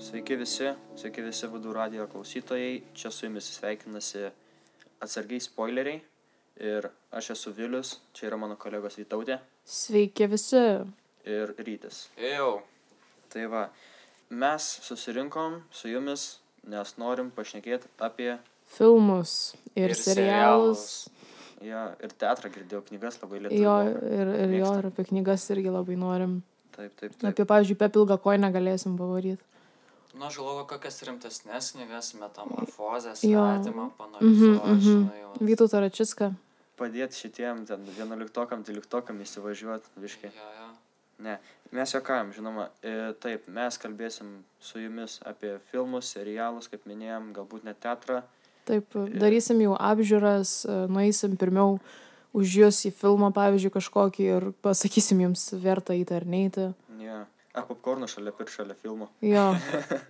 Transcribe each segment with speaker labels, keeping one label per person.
Speaker 1: Sveiki visi, sveiki visi Vadų radio klausytojai, čia su jumis sveikinasi atsargiai spoileriai ir aš esu Vilius, čia yra mano kolegos Vytautė
Speaker 2: Sveiki visi.
Speaker 1: ir Rytis.
Speaker 3: Ejau,
Speaker 1: Tai va, mes susirinkom su jumis, nes norim pašnekėti apie
Speaker 2: Filmus ir,
Speaker 3: Ir
Speaker 2: ir serialus.
Speaker 1: ją ir teatrą, girdėjau knygas labai lietuvių.
Speaker 2: Jo
Speaker 1: kalba.
Speaker 2: ir, ir jo,
Speaker 1: Mėgstam.
Speaker 2: ir apie knygas irgi labai norim.
Speaker 1: Taip, taip,
Speaker 2: Taip.
Speaker 1: taip.
Speaker 2: Apie, pavyzdžiui, apie pilgą koją negalėsim pavaryti.
Speaker 3: nu aš galvoju, kokias rimtesnės knygas, metamorfozės,
Speaker 2: Jo.
Speaker 3: atimą,
Speaker 2: Mhm,
Speaker 3: panašiai.
Speaker 2: mhm. Vytau Taračiską.
Speaker 1: Padėti šitiem ten vienuoliktokam, dvyliktokam įsivažiuoti, viškai.
Speaker 3: Ja,
Speaker 1: Mes jokam, žinoma, e, taip, mes kalbėsim su jumis apie filmus, serialus, kaip minėjom, galbūt net teatrą.
Speaker 2: Taip,
Speaker 1: Ir-
Speaker 2: darysim jau apžiūras, e, nueisim pirmiau už jūs į filmą, pavyzdžiui, kažkokį ir pasakysim jums, verta į tai ar neiti.
Speaker 1: Ja. Ar popkornų šalia ir šalia filmų.
Speaker 2: Jo,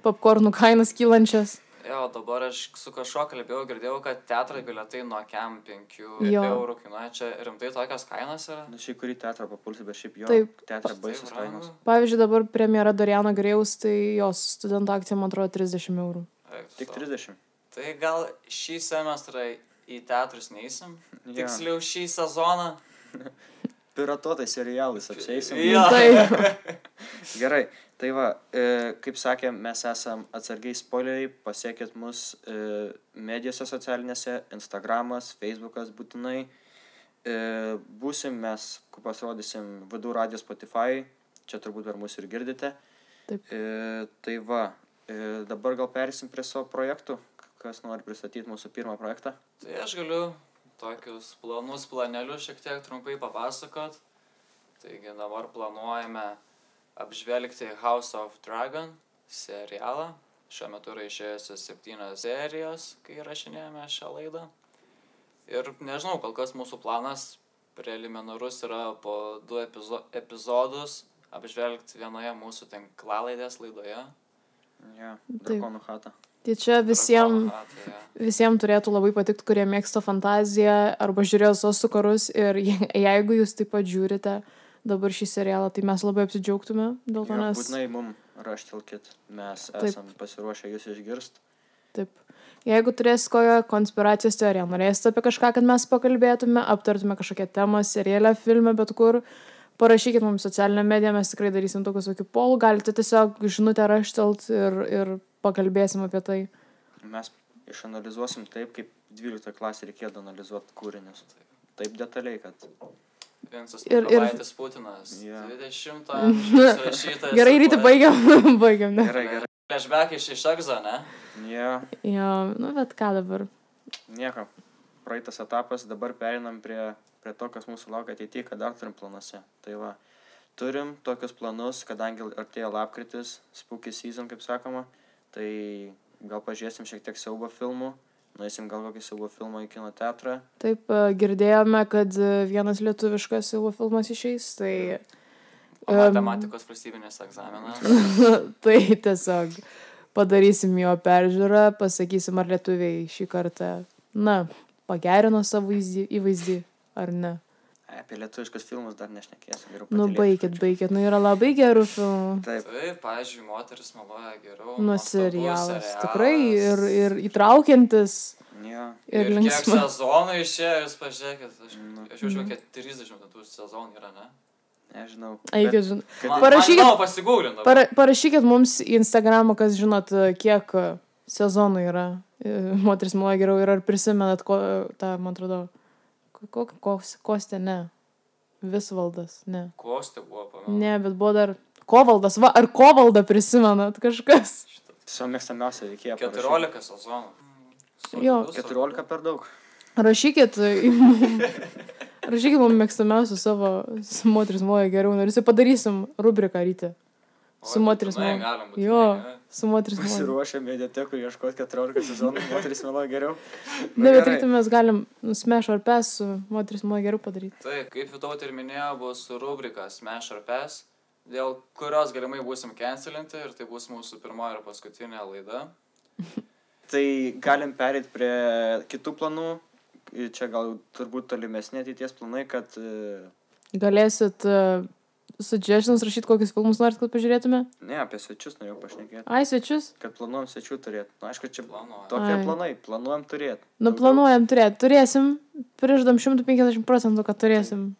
Speaker 2: popkornų kainas kylančias.
Speaker 3: ja, dabar aš su kažkuo kalbėjau, girdėjau, kad teatrai bilietai nuo kem 5
Speaker 2: Jo.
Speaker 3: eurų kainuoja, čia rimtai tokios kainos yra.
Speaker 1: Na, šį Nu, kurį teatrą papulsi, bet šiaip jo
Speaker 2: Taip.
Speaker 1: teatrą
Speaker 3: Tai
Speaker 1: baisus
Speaker 3: brangu.
Speaker 1: kainos.
Speaker 2: Pavyzdžiui, dabar premjera Doriano Grėjaus, tai jos studento akcija, man atrodo, 30 eurų.
Speaker 3: Eik tu
Speaker 1: Tik
Speaker 3: sau.
Speaker 1: 30.
Speaker 3: Tai gal šį semestrą į teatrus neįsim,
Speaker 1: Ja.
Speaker 3: tiksliau šį sezoną.
Speaker 1: Piratotai serialais apsėsim.
Speaker 3: Jo.
Speaker 2: Taip.
Speaker 1: Gerai, tai va, e, kaip sakėm, mes esam atsargiai spoileriai, pasiekit mus e, medijose socialinėse, Instagramas, Facebookas būtinai. E, būsim mes, kur pasirodysim Vadų radio Spotify, čia turbūt per mus ir girdite.
Speaker 2: Taip.
Speaker 1: E, tai va, e, dabar gal persim prie savo projektų, kas nori pristatyti mūsų pirmą projektą.
Speaker 3: Tai aš galiu tokius planus, planelius šiek tiek trumpai papasakot. Taigi dabar planuojame apžvelgti House of Dragon serialą. Šiuo metu yra išėjusios septynios serijos, kai rašinėjame šią laidą. Ir nežinau, kol kas mūsų planas preliminarus yra po du epizo epizodus apžvelgti vienoje mūsų tinklalaidės laidoje.
Speaker 1: Ja, Drakonų hata.
Speaker 2: Tai čia visiems
Speaker 3: Drakono atveju.
Speaker 2: Visiems turėtų labai patikti, kurie mėgsta fantaziją arba žiūrėjo sosų karus ir je- jeigu jūs taip pat žiūrite dabar šį serialą, tai mes labai apsidžiaugtume dėl to,
Speaker 1: Jo,
Speaker 2: nes
Speaker 1: būtinai mum raštelkit, mes
Speaker 2: Taip.
Speaker 1: esam pasiruošę jūs išgirst.
Speaker 2: taip. Jeigu turės kokią konspiracijos teoriją, norėsite apie kažką, kad mes pakalbėtume, aptartume kažkokią temą, serialę, filmą, bet kur, parašykit mums socialinę mediją, mes tikrai darysim tokius tokių polų, galite tiesiog žinutę raštelt ir, ir pakalbėsim apie tai.
Speaker 1: Mes išanalizuosim taip, kaip 12 klasė reikėtų analizuoti kūrinius. Taip detaliai, kad
Speaker 3: Vincas
Speaker 2: Ir- ir-
Speaker 3: Mykolaitis Putinas.
Speaker 1: Jo.
Speaker 3: 20 amžiaus rašytas.
Speaker 2: Gerai, ryte baigiam, baigiam. Ne?
Speaker 1: gerai, gerai.
Speaker 3: Flashback iš iš egzo, ne?
Speaker 1: Ja,
Speaker 2: Jo, nu bet ką dabar.
Speaker 1: nieko. Praeitas etapas, dabar perinam prie, prie to, kas mūsų laukia ateityje, ką dar turim planuose. Tai va, turim tokius planus, kadangi artėja lapkritis, spooky season, kaip sakoma, tai gal pažiūrėsim šiek tiek siaubo filmų, nueisim gal kokį siaubo filmą į kino teatrą.
Speaker 2: Taip, e, girdėjome, kad e, vienas lietuviškas siaubo filmas išeis, tai,
Speaker 3: O
Speaker 2: Em.
Speaker 3: matematikos valstybinis egzaminas.
Speaker 2: tai tiesiog padarysim jo peržiūrą, pasakysim, ar lietuviai šį kartą, na, pagerino savo įvaizdį, įvaizdį ar ne.
Speaker 1: Ai, Apie lietuviškus filmus dar nešnekėsim. geriau
Speaker 2: Nu,
Speaker 1: patylėt.
Speaker 2: baikit, baikit, nu yra labai gerų filmų.
Speaker 1: Taip,
Speaker 3: Tai, pavyzdžiui, moteris meluoja geriau.
Speaker 2: Nu,
Speaker 3: nuostabus
Speaker 2: serialas.
Speaker 3: serialas.
Speaker 2: Tikrai ir, ir įtraukiantis,
Speaker 1: ja.
Speaker 2: ir, ir
Speaker 3: Kiek
Speaker 2: linksmas.
Speaker 3: sezonų išėjo, jūs pažiūrėkit. Aš,
Speaker 1: Nu.
Speaker 3: aš jaučiu,
Speaker 2: Mhm.
Speaker 3: kad 30 tų sezonų yra, ne?
Speaker 1: nežinau. bet-
Speaker 2: Eikit, žinai.
Speaker 1: kad-
Speaker 3: Man-
Speaker 2: Parašykit-
Speaker 3: man- Manau, pasigūrinau.
Speaker 2: Para, parašykit mums į Instagramą, kas žinot, kiek e, sezonų yra. e, Moteris mano geriau ir ar prisimenat, ko, e, tą, man atrodo, ko, ko, kostė, ne. Visvaldas, ne.
Speaker 3: Kosti buvo, pamanau.
Speaker 2: Ne, bet buvo dar kovaldas. Va, ar kovaldą prisimenat kažkas?
Speaker 1: Savo mėgstamiausią veikėją. parašyk.
Speaker 3: 14 sezonų.
Speaker 2: Jo.
Speaker 3: Solidus,
Speaker 1: 14 per daug.
Speaker 2: Rašykit e, į mum. Rašykit mums mėgstamiausių savo s- moteris moja geriau ir visi padarysim rubriką ryte.
Speaker 3: solidus.
Speaker 2: su
Speaker 3: Oi,
Speaker 2: moteris
Speaker 3: būtinai
Speaker 2: mano-
Speaker 3: galim būtinai,
Speaker 2: Jo,
Speaker 3: ne?
Speaker 2: su moteris moja.
Speaker 1: Pasiruošę mediatekų ieškoti 14 sezonų, moteris meluoja geriau.
Speaker 2: Ne, bet
Speaker 1: Gerai.
Speaker 2: ryte mes galim smeš ar pes su moteris moja geriau padaryti.
Speaker 3: Taip, Tai, kaip Vitauti ir minėjo, bus rubrika Smash or Pass, dėl kurios galimai būsim cancelinti ir tai bus mūsų pirmoji ir paskutinė laida.
Speaker 1: Tai galim perėti prie kitų planų. Čia gal turbūt tolimesni ateities planai, kad e,
Speaker 2: Galėsit e, suggestions rašyti, kokius filmus norit, kad pažiūrėtume?
Speaker 1: Ne, apie svečius norėjau pašnekėti.
Speaker 2: Ai, svečius?
Speaker 1: Kad planuojam svečių turėti. Na, aišku, čia
Speaker 3: Planuoju.
Speaker 1: tokie
Speaker 2: Ai.
Speaker 1: planai. Planuojam turėti.
Speaker 2: Nu, planuojam turėti. Turėsim, priždam 150 procentų, kad turėsim.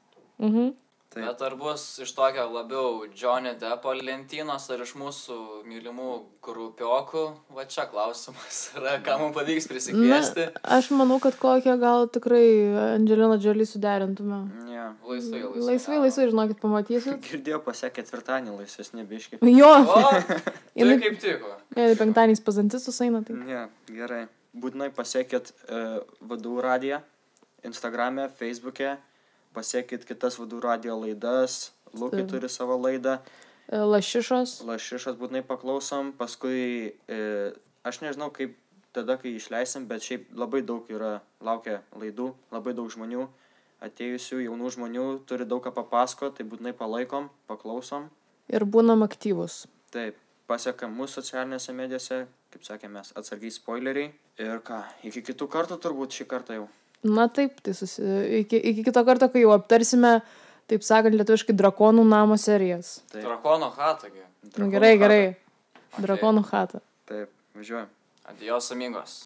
Speaker 2: Mhm.
Speaker 1: Tai
Speaker 3: Bet ar bus iš tokio labiau Johnny Deppo lentynos ar iš mūsų mylimų grupiokų? Va čia klausimas yra, ką mums pavyks
Speaker 2: Na,
Speaker 3: prisikviesti.
Speaker 2: aš manau, kad kokią gal tikrai Angelina Džolį suderintume.
Speaker 1: ne.
Speaker 3: Laisvai, laisvai.
Speaker 2: Laisvai, laisvai, žinokit, pamatysit.
Speaker 1: Girdėjau pasiekė ketvirtadienį laisvesnė biški.
Speaker 2: Jo,
Speaker 3: O, tai
Speaker 2: jinai
Speaker 3: kaip tiko.
Speaker 2: jai penktadieniais pazantistus eina. Tai.
Speaker 1: Ne, gerai. Būtinai pasiekit uh, vadų radiją, Instagram'e, Facebook'e, pasiekit kitas vadų radijo laidas, Lukai
Speaker 2: Taip.
Speaker 1: turi savo laidą,
Speaker 2: E, Lašišos.
Speaker 1: Lašišas būtinai paklausom, paskui uh, aš nežinau kaip tada, kai išleisim, bet šiaip labai daug yra laukia laidų, labai daug žmonių atėjusių, jaunų žmonių, turi daug ką papasako, tai būtinai palaikom, paklausom.
Speaker 2: Ir būnam aktyvus.
Speaker 1: Taip, pasieka mūsų socialinėse medijose, kaip sakėme, mes atsargiai spoileriai. Ir ką, iki kitų kartų turbūt šį kartą jau.
Speaker 2: Na taip, tai susi... iki, iki kito karto, kai jau aptarsime, taip sakant, lietuviškai drakonų namo serijas.
Speaker 1: Taip,
Speaker 3: Drakono hatagi.
Speaker 2: Nu,
Speaker 1: Drakonų
Speaker 2: gerai,
Speaker 1: chatą.
Speaker 2: gerai.
Speaker 3: Okei.
Speaker 2: Drakonų chatą.
Speaker 1: Taip, važiuoju.
Speaker 3: Adios amigos.